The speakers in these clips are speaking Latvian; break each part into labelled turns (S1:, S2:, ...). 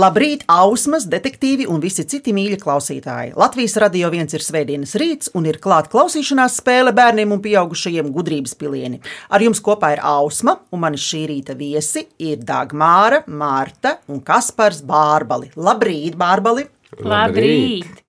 S1: Labrīt, Ausmas, detektīvi un visi citi mīļi klausītāji! Latvijas radio viens ir svētdienas rīts un ir klāta klausīšanās spēle bērniem un pieaugušajiem gudrības pilieni. Ar jums kopā ir Ausma, un mani šī rīta viesi ir Dagmāra, Mārta un Kaspars Bārbali. Labrīt, Bārbali!
S2: Labrīt!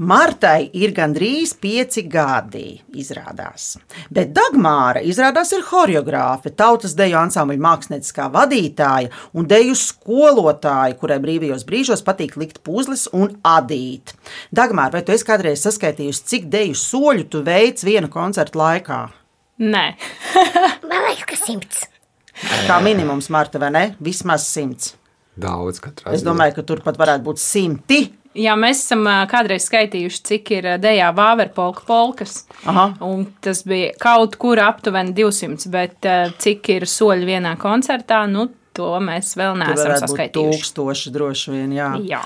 S1: Martai ir gandrīz pieci gadi, izrādās. Bet Dagmāra izrādās ir choreogrāfe, tautas deju ansambļa mākslinieckā vadītāja un deju skolotāja, kurai brīvajos brīžos patīk likt puzles un adīt. Dagmāra, vai tu esi kādreiz saskaitījusi, cik deju soļu tu veic viena koncerta laikā?
S2: Nē,
S3: Man liekas, ka simts.
S1: Kā minimums, Marta, vai ne? Vismaz simts.
S4: Daudz katrā
S1: Es domāju, ka turpat varētu būt simti.
S2: jā, mēs esam ā, kādreiz skaitījuši, cik ir ā, dejā Vāverpolka polkas.
S1: Aha.
S2: Un tas bija kaut kur aptuveni 200, bet ā, cik ir soļi vienā koncertā, nu, to mēs vēl
S1: Tur
S2: neesam
S1: varētu būt
S2: saskaitījuši.
S1: tūkstoši droši vien. Jā.
S2: Jā.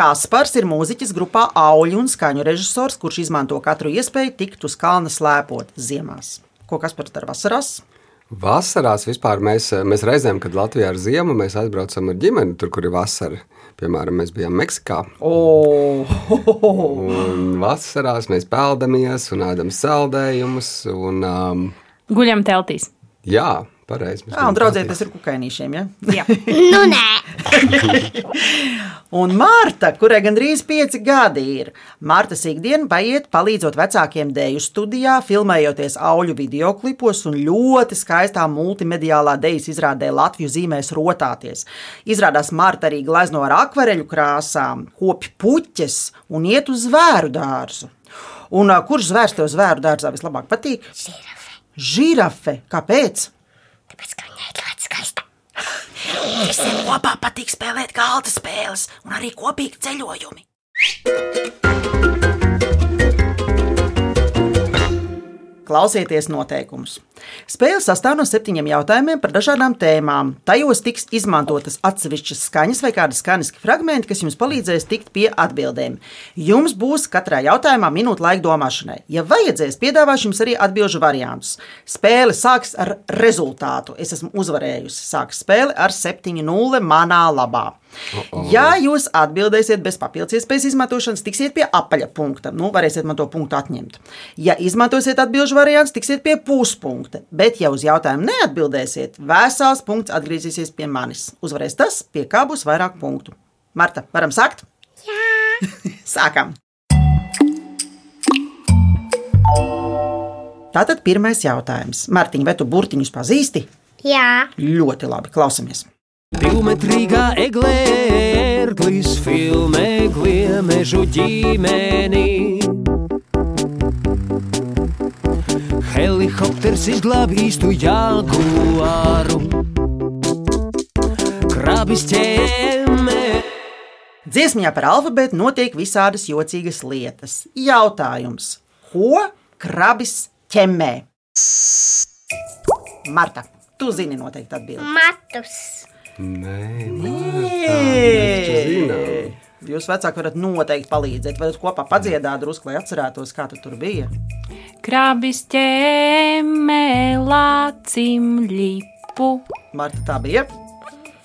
S1: Kaspars ir mūziķis grupā Auļu un skaņu režisors, kurš izmanto katru iespēju tikt uz kalna slēpot ziemās. Ko Kaspars dara vasarās?
S4: Vasarās vispār mēs, mēs reizēm, kad Latvijā ir ziema, mēs aizbraucam ar ģimeni, tur, kur ir vasara. Piemēram, mēs bijām Meksikā.
S1: Oh,
S4: Un vasarās mēs peldamies un ēdam saldējumus. Un, um,
S2: Guļam teltīs.
S4: jā, pareizi. mēs
S1: Jā, un
S4: bijām
S1: draudzēties ar kukainīšiem. Ja?
S2: Jā.
S3: Nu, nē,
S1: Un Marta, kurai gandrīz pieci gadi ir, Martas ikdiena paiet palīdzot vecākiem dēļu studijā, filmējoties auļu video klipos un ļoti skaistā multimediālā dēļas izrādē Latviju zīmēs rotāties. Izrādās Marta arī glezno ar akvareļu krāsām, kopi puķes un iet uz zvēru dārzu. Un ā, kurš zvērs tev zvēru dārzā vislabāk patīk?
S3: žirafe.
S1: Žirafe, kāpēc?
S3: Tāpēc, ka viņai ir ļoti skaista.
S1: Visiem kopā patīk spēlēt galda spēles un arī kopīgi ceļojumi. Klausieties noteikumus. Spēle sastāv no septiņiem jautājumiem par dažādām tēmām. Tajos tiks izmantotas atsevišķas skaņas vai kādi skaņas fragmenti, kas jums palīdzēs tikt pie atbildēm. Jums būs katrā jautājumā minūte laika domāšanai. Ja vajadzēs, piedāvāšu jums arī atbildžu variantus. Spēle sāks ar rezultātu. Es esmu uzvarējusi. Sāks spēle ar 7-0 manā labā. Ja jūs atbildēsiet bez papildus iespējas izmantošanas, tiksiet pie apaļa punkta. Nu, varēsiet man to punktu atņemt. Ja izmantosiet atbildžu variantu, tiksiet pie puspunkta. Bet, ja uz jautājumu neatbildēsiet, vesels punkts atgriezīsies pie manis. Uzvarēs tas, pie kā būs vairāk punktu. Marta, varam sākt? Jā! Sākam! Tātad pirmais jautājums. Mārtiņ, vai tu burtiņus pazīsti?
S3: Jā,
S1: Ļoti labi, klausamies.
S5: Divmetrīgā eglē, ērglis filmē, gliemežu ģimeni. Helikopters izglāb īstu jaguāru. Krabis ķēmē
S1: Dziesmā par alfabētu notiek visādas jocīgas lietas. Jautājums, ko krabis ķemmē? Marta, tu zini noteikti atbildību.
S3: matus.
S4: Nē, Martā, mēs taču zinām.
S1: Jūs vecāki varat noteikti palīdzēt, varat kopā padziedāt, drusku, lai atcerētos, kā tu tur bija.
S2: Krabis ķēmē lācim lipu.
S1: Marta, tā bija.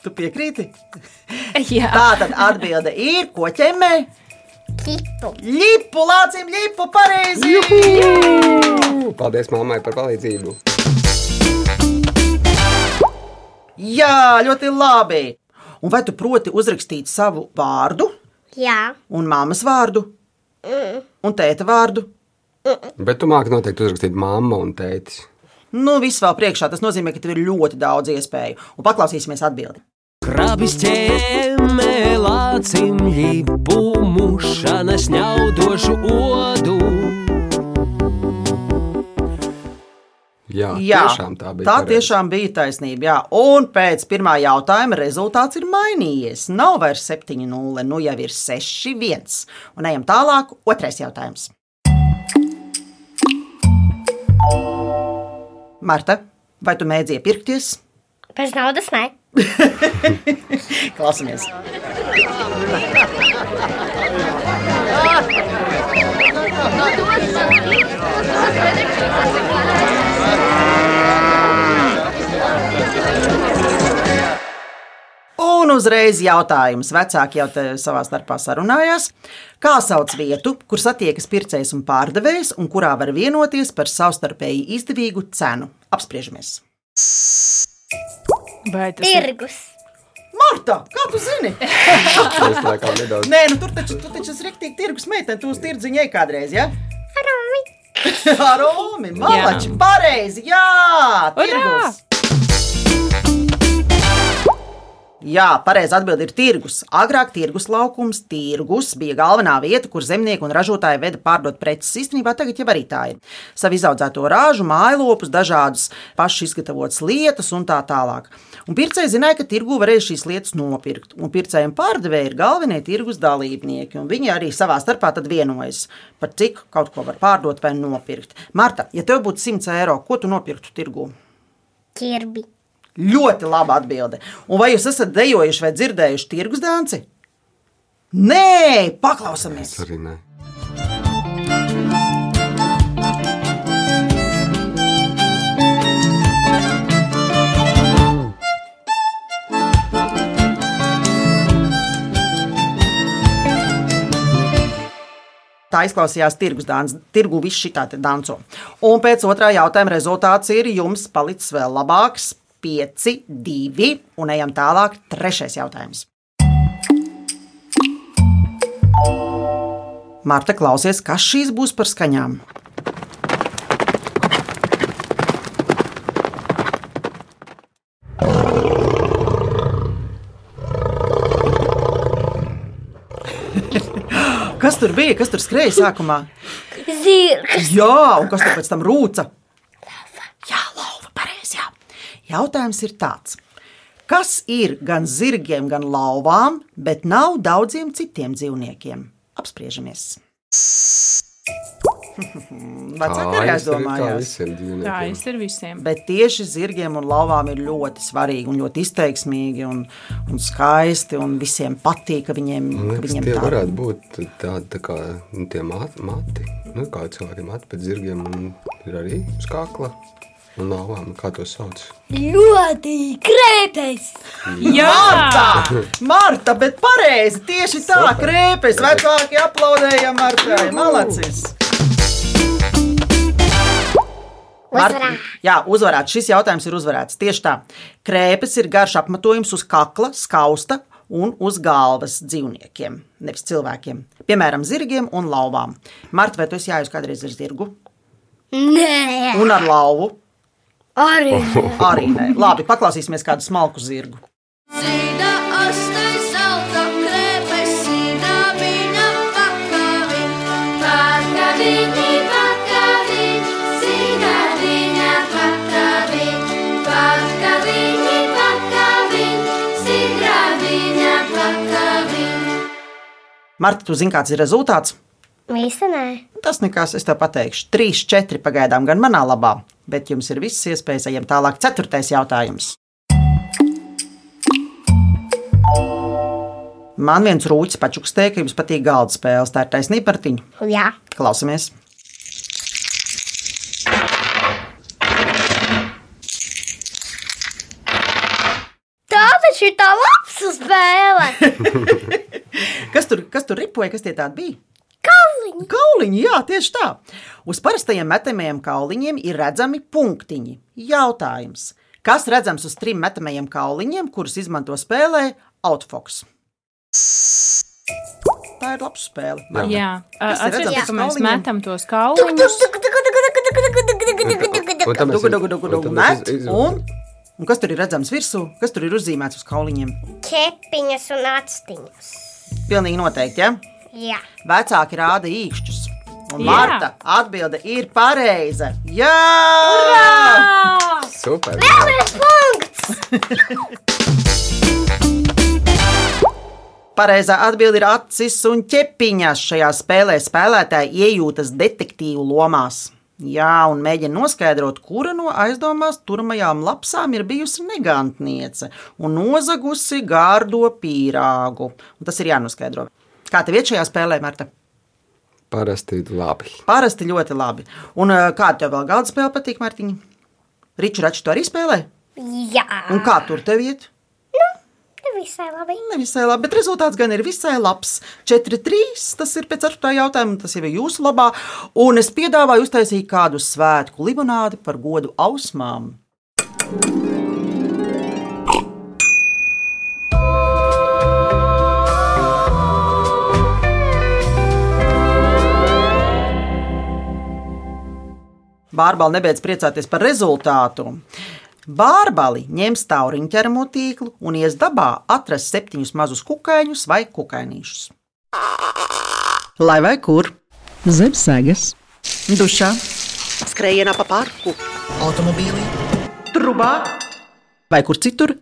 S1: Tu piekrīti?
S2: Jā.
S1: Tā tad atbilde ir, ko ķemmē?
S3: Kipu.
S1: Lipu, lācim, lipu, pareizi!
S4: Ū, Paldies mammai par palīdzību.
S1: Jā, ļoti labi! Un vai tu proti uzrakstīt savu vārdu?
S3: Jā,
S1: un mammas vārdu, un tēta vārdu.
S4: Bet tu māki noteikti uzrakstīt mamma un tētis.
S1: Nu, viss vēl priekšā. Tas nozīmē, ka tev ir ļoti daudz iespēju. Un paklausīsimies atbildi.
S5: Krabis ķēmē lācim lipu mušanas ņaudošu odu.
S4: Jā, tiešām tā bija.
S1: tā
S4: pareizi.
S1: tiešām bija taisnība. Jā. Un pēc pirmā jautājuma rezultāts ir mainījies. Nav vairs 7,0, nu jau ir 6,1. Un ejam tālāk. Otrais jautājums. Marta, vai tu mēdz iepirkties?
S3: bez naudas nē.
S1: Klausamies! uzreiz jautājums. Vecāki jau te savā starpā sarunājās. Kā sauc vietu, kur satiekas pircējs un pārdevējs, un kurā var vienoties par savstarpēji izdevīgu cenu? Apspriežamies!
S2: Vai tas ir?
S3: Tirgus.
S1: Marta, kā tu zini?
S4: Es laikam nedaudz.
S1: Nē, nu tur taču, tu taču esi rīktīgi tirgus meitene, tu uz tirdziņai kādreiz, ja?
S3: Arumi.
S1: Ar Romu, Malači, pareizi, jā,
S2: Urā!
S1: tirgus. Jā, pareizi atbild ir tirgus. Agrāk tirgus laukums, tirgus bija galvenā vieta, kur zemnieki un ražotāji veda pārdot preces. Īstenībā tagad jau arī tā ir. Savu izaudzēto rāžu, mājlopus, dažādas pašu izgatavotas lietas un tā tālāk. Un pircēji zināja, ka tirgu varēs šīs lietas nopirkt. Un pircējiem pārdevēji ir galvenie tirgus dalībnieki, un viņi arī savā starpā tad vienojas par cik kaut ko var pārdot vai nopirkt. Marta, ja tev būtu 100 eiro, ko tu nopirktu tirgū?
S3: Ķirbi.
S1: Ļoti laba atbilde. Un vai jūs esat dejojuši vai dzirdējuši tirgus danci? Nē, paklausāmies.
S4: Arī nē.
S1: Tā izklausījās tirgus dāns. Tirgu viss šī tāda danco. Un pēc otrā jautājuma rezultāts ir jums palicis vēl labāks. 5, 2 un ejam tālāk. Trešais jautājums. Marta, klausies, kas šīs būs par skaņām? Kas tur bija? Kas tur skrēja sākumā?
S3: Zirgs.
S1: Jā, un kas tur pēc tam rūca? Jā, lauva, pareizi. Jā. Jautājums ir tāds. Kas ir gan zirgiem, gan lauvām, bet nav daudziem citiem dzīvniekiem? Apspriežamies. Vecāki arī
S4: Kājas ir kā
S1: aizdomājās.
S4: visiem
S2: Tā
S4: dzīvniekiem.
S2: es ir visiem.
S1: Bet tieši zirgiem un lauvām ir ļoti svarīgi, un ļoti izteiksmīgi, un, un skaisti. Un visiem patīk, ka viņiem,
S4: Man
S1: ka
S4: Liekas,
S1: viņiem
S4: Nu, tie
S1: tā
S4: varētu būt tādi tā kā nu, tie mati, mati. Nu, kā cilvēkiem mati pēc zirgiem, un ir arī uz kakla. Un nāvām, kā to sauc?
S3: Ļoti krēpēs.
S2: Jā!
S1: Marta! Marta, bet pareizi, tieši tā,
S4: Super.
S1: krēpes. Vecāki aplaudēja Martai. Malacis! Marta,
S3: Uzvarā.
S1: jā, uzvarēts. Šis jautājums ir uzvarēts. Tieši tā. Krēpes ir garš apmetojums uz kakla, skausta un uz galvas dzīvniekiem, nevis cilvēkiem. Piemēram, zirgiem un lauvām. Marta, vai tu esi jājusi kādreiz ar zirgu
S3: Nē,
S1: un ar lauvu?
S3: arī.
S1: Arī nē. Labi, paklausīsimies kādu smalku zirgu.
S6: Sīdā astai salta krepe, sīdā viņa pakavi. Pakaviņi, pakavi, sīdā viņa pakavi. Pakaviņi, pakavi, sīdā viņa pakavi.
S1: Marta, tu zini, kāds ir rezultāts?
S3: Visi nē.
S1: Tas nekas, es tev pateikšu. Trīs, četri pagaidām gan manā labā, bet jums ir visas iespējas ejam tālāk. Ceturtais jautājums. Man viens rūķis pačukstē, ka jums patīk galda spēles. Tā ir taisnība par tiņu.
S3: Jā.
S1: Klausamies!
S3: Tā taču ir tā laba spēle.
S1: Kas tur, kas tur ripoja, kas tie tādi bija?
S3: Kalniņa.
S1: Kauliņi, jā, tieši tā. Uz parastajiem metamajiem kauliņiem ir redzami punktiņi. Jautājums. Kas redzams uz trim metamajiem kauliņiem, kurus izmanto spēlē Outfox? Tā ir laba spēle. Man
S2: Jā,
S1: Kas ir
S2: atcerieties,
S1: redzams
S2: ka mēs
S1: kauliņiem?
S2: metam tos kauliņus.
S4: Un tam mēs
S1: Dugu,
S4: iz-
S1: dugu, dugu,
S4: un
S1: dugu,
S4: tam mēs
S1: met,
S4: iz- iz-
S1: un, un kas tur ir redzams virsū, kas tur ir uzzīmēts uz kauliņiem?
S3: Kepiņas un atstiņas.
S1: Pilnīgi noteikti, ja?
S3: Jā.
S1: Vecāki rāda īkšķus. Un
S2: Jā.
S1: Marta atbilde ir pareiza. Jā! Urā!
S4: Super!
S1: Pareizā atbilde ir acis un ķepiņas. Šajā spēlē spēlētāji iejūtas detektīvu lomās. Jā, un mēģina noskaidrot, kura no aizdomās turmajām lapsām ir bijusi negantniece un nozagusi gārdo pīrāgu. Un tas ir jānoskaidro. Kā tev iet šajā spēlē, Marta?
S4: Parasti labi.
S1: Parasti ļoti labi. Un ā, kā tev vēl galda spēle patīk, Mārtiņa? Riču raču tu arī spēlē?
S3: Jā.
S1: Un kā tur tev iet?
S3: Visai labi.
S1: Nevisai labi, bet rezultāts gan ir visai labs. 4-3. Tas ir pēc 4. jautājuma, tas jau ir jūsu labā. Un es piedāvāju uztaisīt kādu svētku limonādi par godu ausmām. Bārbali nebeidz priecāties par rezultātu. Bārbali ņems tauriņu ķermo tīklu un ies dabā atrast septiņus mazus kukaiņus vai kukainīšus. Lai vai kur?
S7: zem segas,
S1: Dušā,
S8: skrējienā pa parku,
S7: automobīlī,
S1: trubā vai kur citur,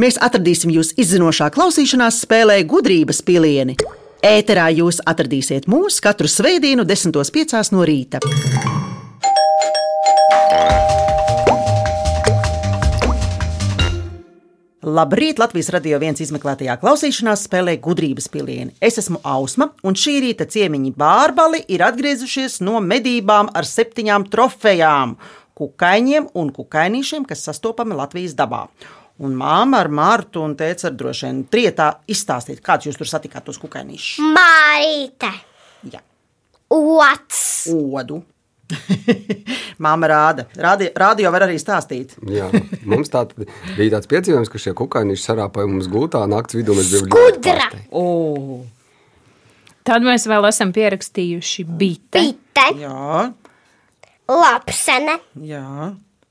S1: mēs atradīsim jūs izzinošā klausīšanās spēlē gudrības pilieni. Ēterā jūs atradīsiet mūs katru svētdienu, 10.5. no rīta. Labrīt! Latvijas radio viens izmeklētajā klausīšanās spēlē gudrības pilieni. Es esmu Ausma, un šī rīta ciemiņi Bārbali ir atgriezušies no medībām ar septiņām trofejām, kukaiņiem un kukainīšiem, kas sastopami Latvijas dabā. Un māma ar Mārtu un teica, ar droši vien trietā izstāstīt, kāds jūs tur satikāt tos kukainīšus.
S3: Mārīte.
S1: Jā,
S3: Ots.
S1: odu. māma rāda. Rādi, radio var arī stāstīt.
S4: Jā, mums tā bija tāds piedzīvojums, ka šie kukaiņi sarāpēja mums gultā naktas vidū. Mēs bijām ļoti
S3: Kudra.
S4: pārsteigti.
S1: O,
S2: Tad mēs vēl esam pierakstījuši bite,
S3: Pite.
S1: jā,
S3: Lapsene.
S1: jā.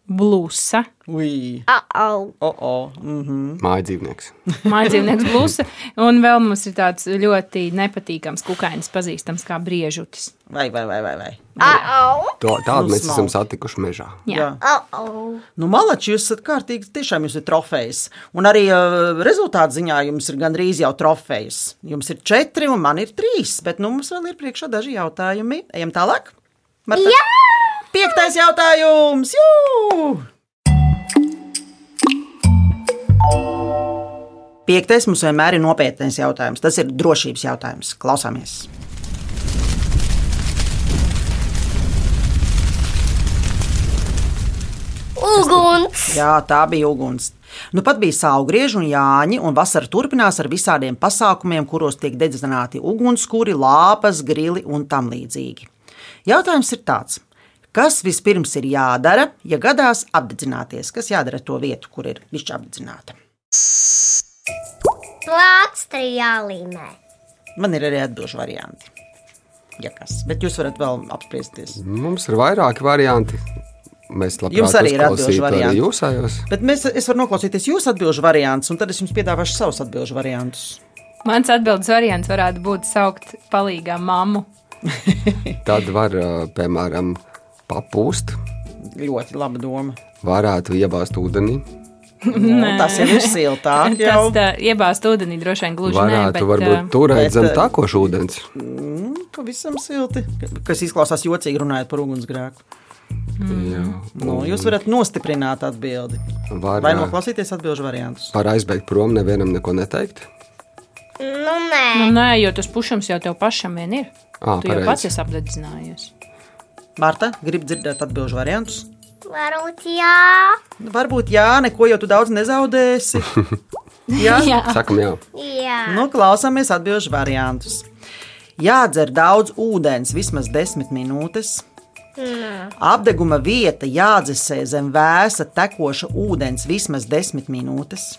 S2: blūza,
S1: Ui.
S3: Au.
S1: O, o, mhm.
S4: Māja dzīvnieks.
S2: mājdzīvnieks blūza. Un vēl mums ir tāds ļoti nepatīkams kukainis, pazīstams kā briežutis.
S1: Vai, vai, vai, vai. vai.
S3: Au.
S4: To, tādu
S1: Nu,
S4: mēs esam
S1: smalki.
S4: satikuši mežā.
S2: Jā.
S3: Au.
S1: Nu, malači, jūs esat kārtīgi, tiešām jūs ir trofejs. Un arī uh, rezultātu ziņā jums ir gandrīz jau trofejs. Jums ir četri un man ir trīs, bet nu, mums vēl ir priekšā daži jautājumi. Ejam tālāk. Marta? Jā! Piektais jautājums! Jū! Piektais mums vienmēr ir nopietnēs jautājums. Tas ir drošības jautājums. Klausāmies!
S3: Uguns.
S1: Jā, tā bija uguns. Nu, pat bija saugrieži un āņi, un vasara turpinās ar visādiem pasākumiem, kuros tiek dedzināti ugunskura, lāpas, grili un tam līdzīgi. Jautājums ir tāds. Kas vispirms ir jādara, ja gadās apdedzināties? Kas jādara ar to vietu, kur ir višķi apdedzināta?
S3: Plākstri jālīmē.
S1: Man ir arī atbildīgi varianti. Ja kas, bet jūs varat vēl apspriesties.
S4: Mums ir vairāki varianti. Mēs labprāt
S1: Jums arī ir
S4: uzklausītu
S1: atbilžu
S4: arī
S1: varianti.
S4: jūsējos.
S1: Bet mēs, es varu noklausīties jūsu atbildžu variantus, un tad es jums piedāvāšu savus atbildžu variantus.
S2: Mans atbildes variants varētu būt saukt palīgā mammu.
S4: Tad var, ā, piemēram, papūst,
S1: Ļoti laba doma.
S4: varētu iebāzt ūdeni,
S1: Nu, tas jau ir siltāk.
S2: Tas
S1: jau.
S2: tā, iebāzt ūdenī droši vien gluži nē,
S4: varētu
S2: bet, ā,
S4: varbūt
S1: eh, bet,
S4: turēt zem
S1: ā,
S4: takošu ūdens.
S1: Pavisam silti. Kas izklausās jocīgi runājot par ugunsgrēku.
S4: Jā.
S1: Nu, jūs varat nostiprināt atbildi. Vai
S4: Varētu
S1: noklausīties atbildžu variantus?
S4: par aizbēgt prom, nevienam neko neteikt.
S3: Nu, nē.
S2: Nu, nē, jo tas pušums jau tev pašam vien ir.
S4: Ā,
S2: tu jau
S4: pareizi.
S2: pats esi apdedzinājies.
S1: Marta, grib dzirdēt atbildžu variantus?
S3: Varbūt jā.
S1: Nu, Varbūt jā, neko jau tu daudz nezaudēsi. jā, jā.
S2: Ah.
S4: Sakam, jā.
S3: Jā.
S1: Nu, klausāmies atbildžu variantus. Jādzer daudz ūdens, vismaz 10 minūtes. Apdeguma vieta jādzesē zem vēsa tekoša ūdens vismaz 10 minūtes.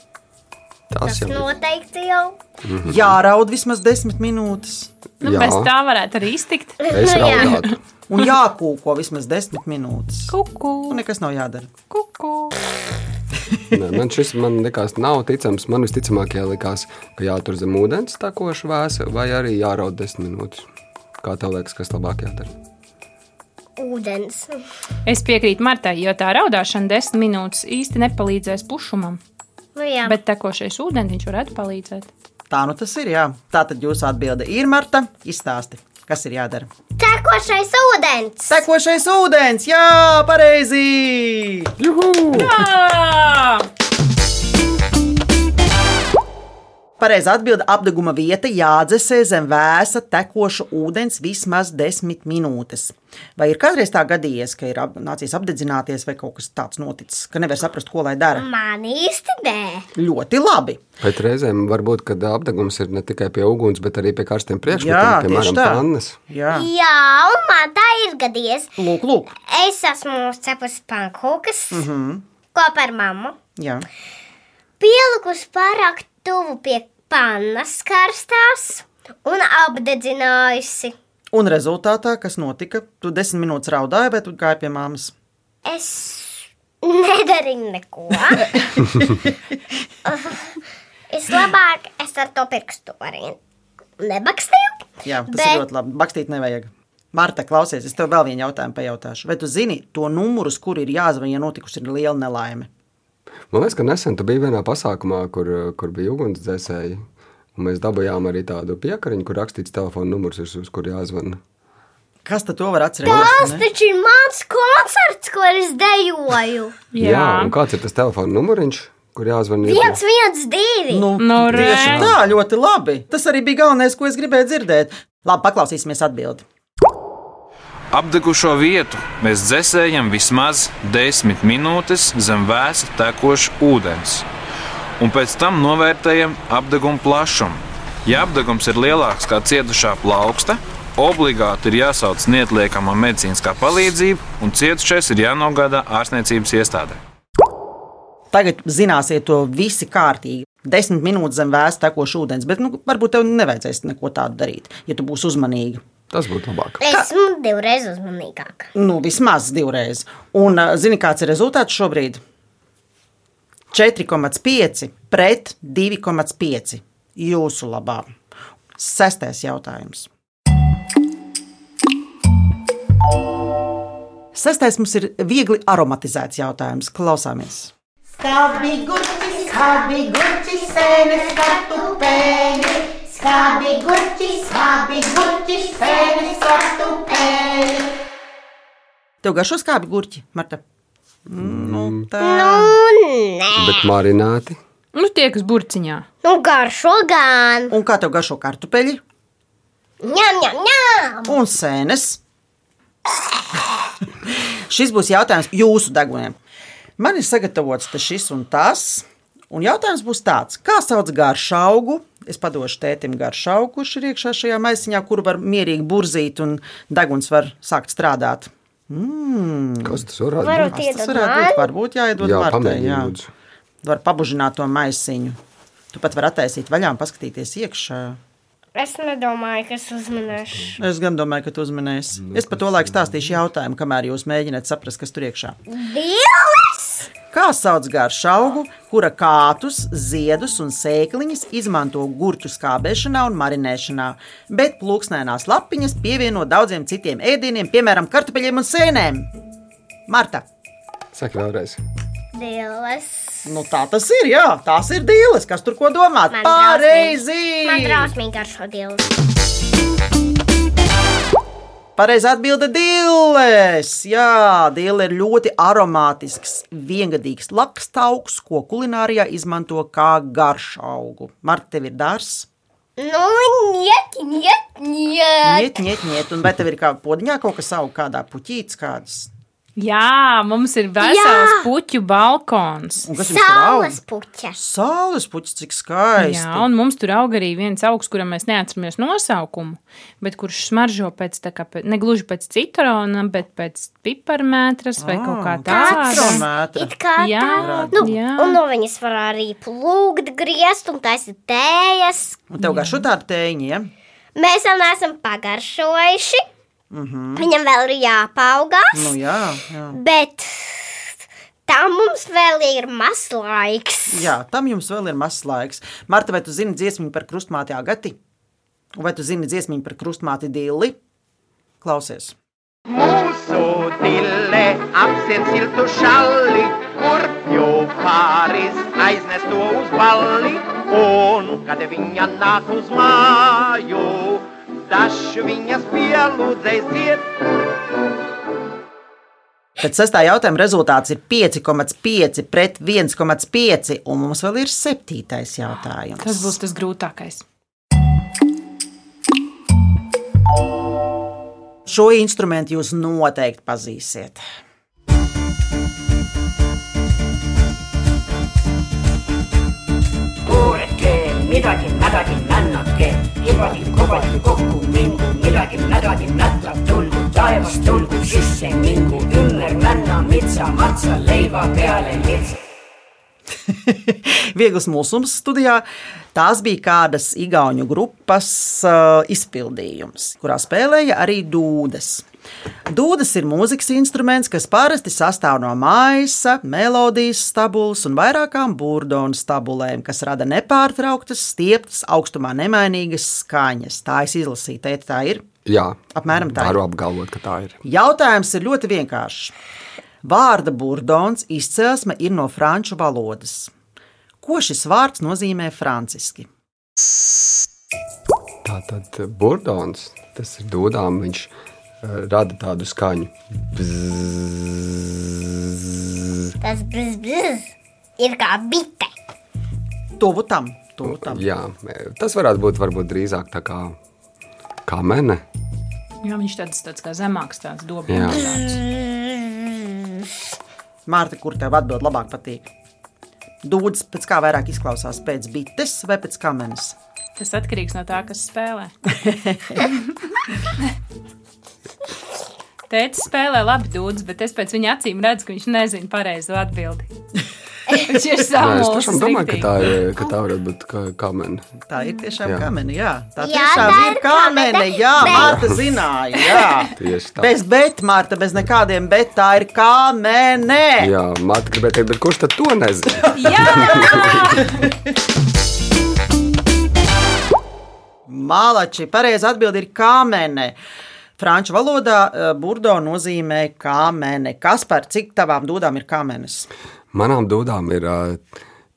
S4: Tas
S3: Tas
S4: jau ir.
S3: noteikti jau.
S1: Jāraud vismaz 10 minūtes.
S2: Nu,
S4: Jā.
S2: bez tā varētu arī iztikt.
S4: Es
S3: Nu, jā.
S4: raudātu.
S1: Un jākūko vismaz 10 minūtes.
S2: Kuku,
S1: Un nekas nav jādara.
S2: kuku.
S4: Nē, man šis man likās, nav ticams. Man visticamāk, jālikās, ka jātur zem ūdens takošu vēsa, vai arī jāraud desmit minūtes. Kā tev liekas, kas labāk jādara?
S3: Ūdens.
S2: Es piekrītu Martai, jo tā raudāšana desmit minūtes īsti nepalīdzēs pušumam.
S3: Nu, jā.
S2: Bet tekošais ūdens varētu palīdzēt.
S1: Tā nu tas ir. Jā. Tā tad jūsu atbilde ir Marta. Izstāsti, kas ir jādara.
S3: Tekošais ūdens.
S1: Sekošais ūdens, jā, pareizi!
S2: Ā!
S1: Pareizā atbilde - apguma vieta jādzesē zem vēsa tekoša ūdens vismaz 10 minūtes. Vai ir kādreiz tā gadījies, ka ir ap- nācies apdedzināties vai kaut kas tāds noticis, ka nevar saprast, ko lai dara?
S3: Man īsti nē.
S1: Ļoti labi.
S4: Bet reizēm var būt, kad apgabals ir ne tikai pie uguns, bet arī pie
S1: Jā,
S4: karstiem priekšmetiem,
S1: tieši
S4: piemēram,
S1: tā.
S4: pannas.
S1: Jā,
S3: Jā, un man tā ir gadījies.
S1: lūk, lūk.
S3: Es esmu uzcepusi pankūkas mm
S4: Mhm.
S3: -hmm. kopā ar mammu.
S1: Jā.
S3: Pielikusi pārāk tuvu pie pannas karstās un apdedzinājusi.
S1: Un rezultātā, kas notika, tu desmit minūtes raudāji, bet tu gāji pie māmas.
S3: Es nedarīju neko. Uh, es labāk es ar to pirkstu arī nebakstīju.
S1: Jā, tas Bet...
S3: Bet-
S1: ir ļoti labi. Bakstīt nevajag. Marta, klausies, es tev vēl vienu jautājumu pajautāšu. Vai tu zini to numuru, uz kuru ir jāzvanīt, ja notikusi ir liela nelaime?
S4: Man liekas, ka nesen tu biji vienā pasākumā, kur, uh, kur bija ugunsdzēsēji. Un mēs dabūjām arī tādu piekariņu, kur rakstīts telefona numurs, uz, uz kur jāzvan.
S1: Kas tad to var
S3: Tas
S1: atcerēties? ne?
S3: taču ir mans koncerts, kur es dejoju.
S4: Jā, un kāds ir tas telefona numuriņš, kur jāzvan? ir?
S3: Viens, viens, divi. Nu.
S1: Nu,
S2: Nu, re.
S1: tieši tā, ļoti labi. Tas arī bija galvenais, ko es gribēju dzirdēt. Labi, paklausīsimies atbildi.
S9: Apdegušo vietu mēs dzēsējam vismaz 10 minūtes zem vēsa tekoša ūdens, un pēc tam novērtējam apgabala plašumu. Ja apgabals ir lielāks kā cietušā plauksta, obligāti ir jāsauc neatliekamā medicīniskā palīdzība, un cietušais ir jānogādā ārstniecības iestādē.
S1: Tagad zināsiet to visi kārtīgi. Desmit minūtes zem vēsta tekošs ūdens, bet nu, varbūt tev nevajadzēs neko tādu darīt, ja tu būsi uzmanīga.
S4: Tas būtu labāk.
S3: Esmu divreiz uzmanīgāka.
S1: Nu, vismaz divreiz. Un ā, zini, kāds ir rezultāts šobrīd? 4,5 pret 2,5 jūsu labā. Sestais jautājums. Sestais mums ir viegli aromatizēts jautājums. Klausāmies!
S10: Skābi gurķi, skābi gurķi, sēnes kartupēļi. Skābi gurķi, skābi gurķi, sēnes kartupēļi.
S1: Tev garšo skābi gurķi, Marta? Nu, tā
S4: Bet marināti.
S2: Nu, tie, kas burciņā.
S3: Nu, garšo gan.
S1: Un kā tev garšo kartupeļi
S3: Ņem, ņem, ņem.
S1: un sēnes? šis būs jautājums jūsu deguniem. Man ir sagatavots te šis un tas. Un jautājums būs tāds, kā sauc garšu augu? Es padošu tētim garšu augu, kurš ir iekšā šajā maisiņā, kur var mierīgi burzīt un deguns var sākt strādāt.
S4: Kas tas varētu būt?
S3: Varbūt
S1: Kas tas
S3: iedod
S1: varētu
S3: man.
S1: būt? Varbūt jāiedod
S4: Jā,
S1: Martai,
S4: pamēģini,
S1: jā.
S4: lūdzu.
S1: Var pabužināt to maisiņu. Tu pat vari attaisīt vaļā un paskatīties iekšā.
S3: Es nedomāju, ka es uzmanīšu.
S1: Es gan domāju, ka tu uzmanēsi.
S4: Nu,
S1: Es pa to laiku stāstīšu jautājumu, kamēr jūs mēģināt saprast, kas tur iekšā.
S3: Dīles!
S1: Kā sauc garšu augu, kura kātus, ziedus un sēkliņas izmanto gurķu skābēšanā un marinēšanā, bet plūksnēnās lapiņas pievieno daudziem citiem ēdieniem, piemēram, kartupeļiem un sēnēm? Marta,
S4: Saka vēlreiz.
S3: Dīles!
S1: nu tā tas ir, jā, tās ir dīles, kas tur ko domāt.
S3: Man Man
S1: Pareizi!
S3: drausmīgi garšo dīles.
S1: Pareizi atbilde - dīles. Jā, dīle ir ļoti aromātisks, viengadīgs lakstaugs, ko kulinārijā izmanto kā garšu augu. Marta, tev ir dārsts.
S3: Nu, niet, niet, niet.
S1: Niet, niet, niet. Un vai tev ir kā podziņā kaut kas auga, kādā puķītis kādas?
S2: Jā, mums ir vesels Jā. puķu balkons.
S1: Un kas jums tur auga?
S3: Saules puķa.
S1: Saules puķis, cik skaisti.
S2: Jā, un mums tur aug arī viens augs, kuram mēs neatceramies nosaukumu, bet kurš smaržo pēc tā kā pēc, ne gluži pēc citrona, bet pēc piparmētras vai kaut
S4: Ah,
S2: kā tāda.
S1: Citrometra.
S3: It kā
S2: Jā,
S3: tā. Nu,
S2: jā.
S3: un no viņas var arī plūkt, griezt un taisīt tējas.
S1: Un tev garšo tādi tēņi, ja?
S3: Mēs vēl neesam pagaršojuši. Mm -hmm. Viņam vēl ir jāpaugās.
S1: Nu jā, jā.
S3: Bet tam mums vēl ir maz laiks.
S1: Jā, tam jums vēl ir mazs laiks. Marta, vai tu zini dziesmu par krustmāti Agati? Un Vai tu zini dziesmu par krustmāti Dili? Klausies!
S7: Mūsu dille apsiet siltu šalli, kur jau pāris aiznes to uz balli. Un, kad viņa nāk uz māju, dažs viņas pielūdzēsiet.
S1: Tad sestā jautājuma rezultāts ir 5,5 pret 1,5. Un mums vēl ir septītais jautājums.
S2: Tas būs tas grūtākais.
S1: Šo instrumentu jūs noteikti pazīsiet.
S11: Kuuletee, midagi mädagi männake, kibadi kobadi kokku mingu, midagi mädagi mätta tulgu, taevas tulgu sisse mingu, ümber männa mitsa matsa leiva peale litsa.
S1: Vieglas mūzums studijā. Tās bija kādas Igaunu grupas uh, izpildījums, kurā spēlēja arī dūdas. Dūdas ir mūzikas instruments, kas parasti sastāv no maisa, melodijas stabulas un vairākām burdonu stabulēm, kas rada nepārtrauktas, stieptas, augstumā nemainīgas skaņas. Tā es izlasīju, teikt, tā ir.
S4: Jā,
S1: Apmēram tā ir.
S4: Varu apgalvot, ka tā ir.
S1: Jautājums ir ļoti vienkāršs. Vārda burdons izcelsme ir no franču valodas. Ko šis vārds nozīmē franciski?
S4: Tātad eh, burdons, tas ir dūdām, viņš eh, rada tādu skaņu. Bzzz.
S3: Tas brīz brīz ir kā bite.
S1: Tuvu tam, tuvu tam.
S4: Jā, eh, tas varētu būt varbūt drīzāk tā kā kamene.
S2: Jā, viņš tāds, tāds kā zemāks, tāds
S4: Jā.
S2: dobīgs.
S1: Mārta, kur tev atbild labāk patīk? Dūds pēc kā vairāk izklausās pēc bites vai pēc kamenes.
S2: Tas atkarīgs no tā, kas spēlē. Tēta spēlē labi dūdzi, bet es pēc viņa acīm redzu, ka viņš nezina pareizo atbildi. Viņš ir
S4: Nē, es
S2: samulsis.
S4: tiešām domāju, ka
S2: riktīgi.
S4: tā, ir, ka tā varētu būt kā kamene.
S1: Tā ir tiešām jā.
S4: Jā.
S1: kamene, jā. Tā
S3: Jā,
S1: tiešām
S3: tā
S1: ir
S3: ir
S1: kamene,
S3: kamene,
S1: jā,
S3: bet-
S1: Mārta zināja, jā.
S4: Tieši tā.
S1: Bez bet, Mārta, bez nekādiem bet, tā ir kamene.
S4: Jā, Mārta gribēja teikt, bet kurš tad to nezina?
S1: Malači, pareizi atbild ir kamene. Franču valodā eh, burdo nozīmē kamene. Kas par cik tavām dūdām ir kamenes?
S4: Manām dūdām ir uh,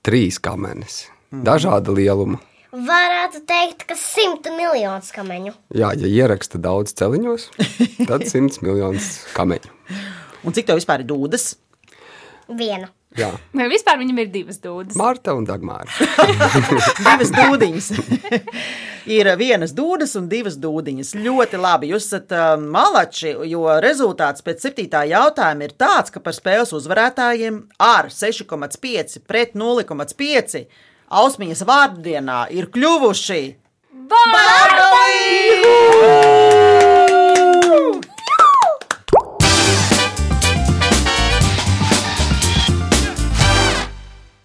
S4: trīs kamenes. Dažāda lieluma.
S3: Varētu teikt, ka simta miljonus kameņu.
S4: Jā, ja ieraksta daudz celiņos, tad 100 miljonus kameņu.
S1: Un cik tev vispār ir dūdas?
S3: Vienu.
S4: Jā,
S2: Vai vispār viņam ir divas dūdas?
S4: Marta un Dagmāra.
S1: divas dūdiņas. ir vienas dūdas un divas dūdiņas. Ļoti labi. Jūs esat uh, malači, jo rezultāts pēc septītā jautājuma ir tāds, ka par spēles uzvarētājiem ar 6,5 pret 0,5 Ausmiņas vārdienā ir kļuvuši Barbarī!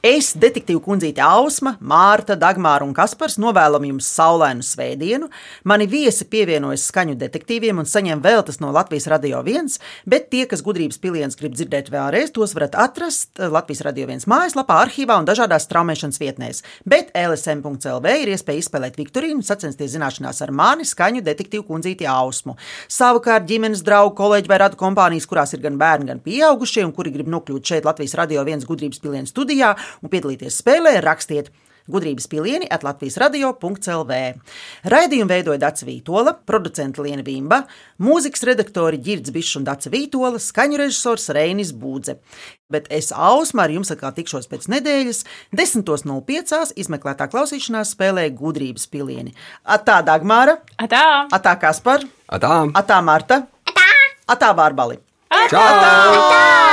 S1: Es, detektīva kundzīte Ausma, Mārta, Dagmāra un Kaspars, novēlam jums saulainu svētdienu. Mani viesi pievienojas skaņu detektīviem un saņem veltes no Latvijas Radio 1, bet tie, kas gudrības pilienus grib dzirdēt vēlreiz, tos varat atrast eh, Latvijas Radio 1 mājaslapā, arhīvā un dažādās straumēšanas vietnēs. Bet LSM.CLV ir iespēja izspēlēt Viktorīnu, sacensties zināšanās ar mani, skaņu detektīvu kundzīti Ausmu. Savukārt ģimenes draugu, kolēģi vai radu kompānijas, kurās ir gan bērni, gan pieaugušie, un kuri grib nokļūt šeit Latvijas Radio 1 gudrības pilienu studijā un piedalīties spēlē, rakstiet gudrības pilieni at Latvijas radio.clv. Raidījumu veidoja Dācis Vītola, producents Liena Vimba, mūzikas redaktori Girds Bišs un Dācis Vītola, skaņu režisors Reinis Būdze. Bet es Ausmā ar jums atkal tikšos pēc nedēļas, 10.05. izmeklētā klausīšanās spēlē gudrības pilieni. Atā Dagmāra,
S2: Atā!
S1: atā Kaspar,
S4: Atām!
S1: atā Marta, atā Vārbali!
S4: Čau!
S3: Tā!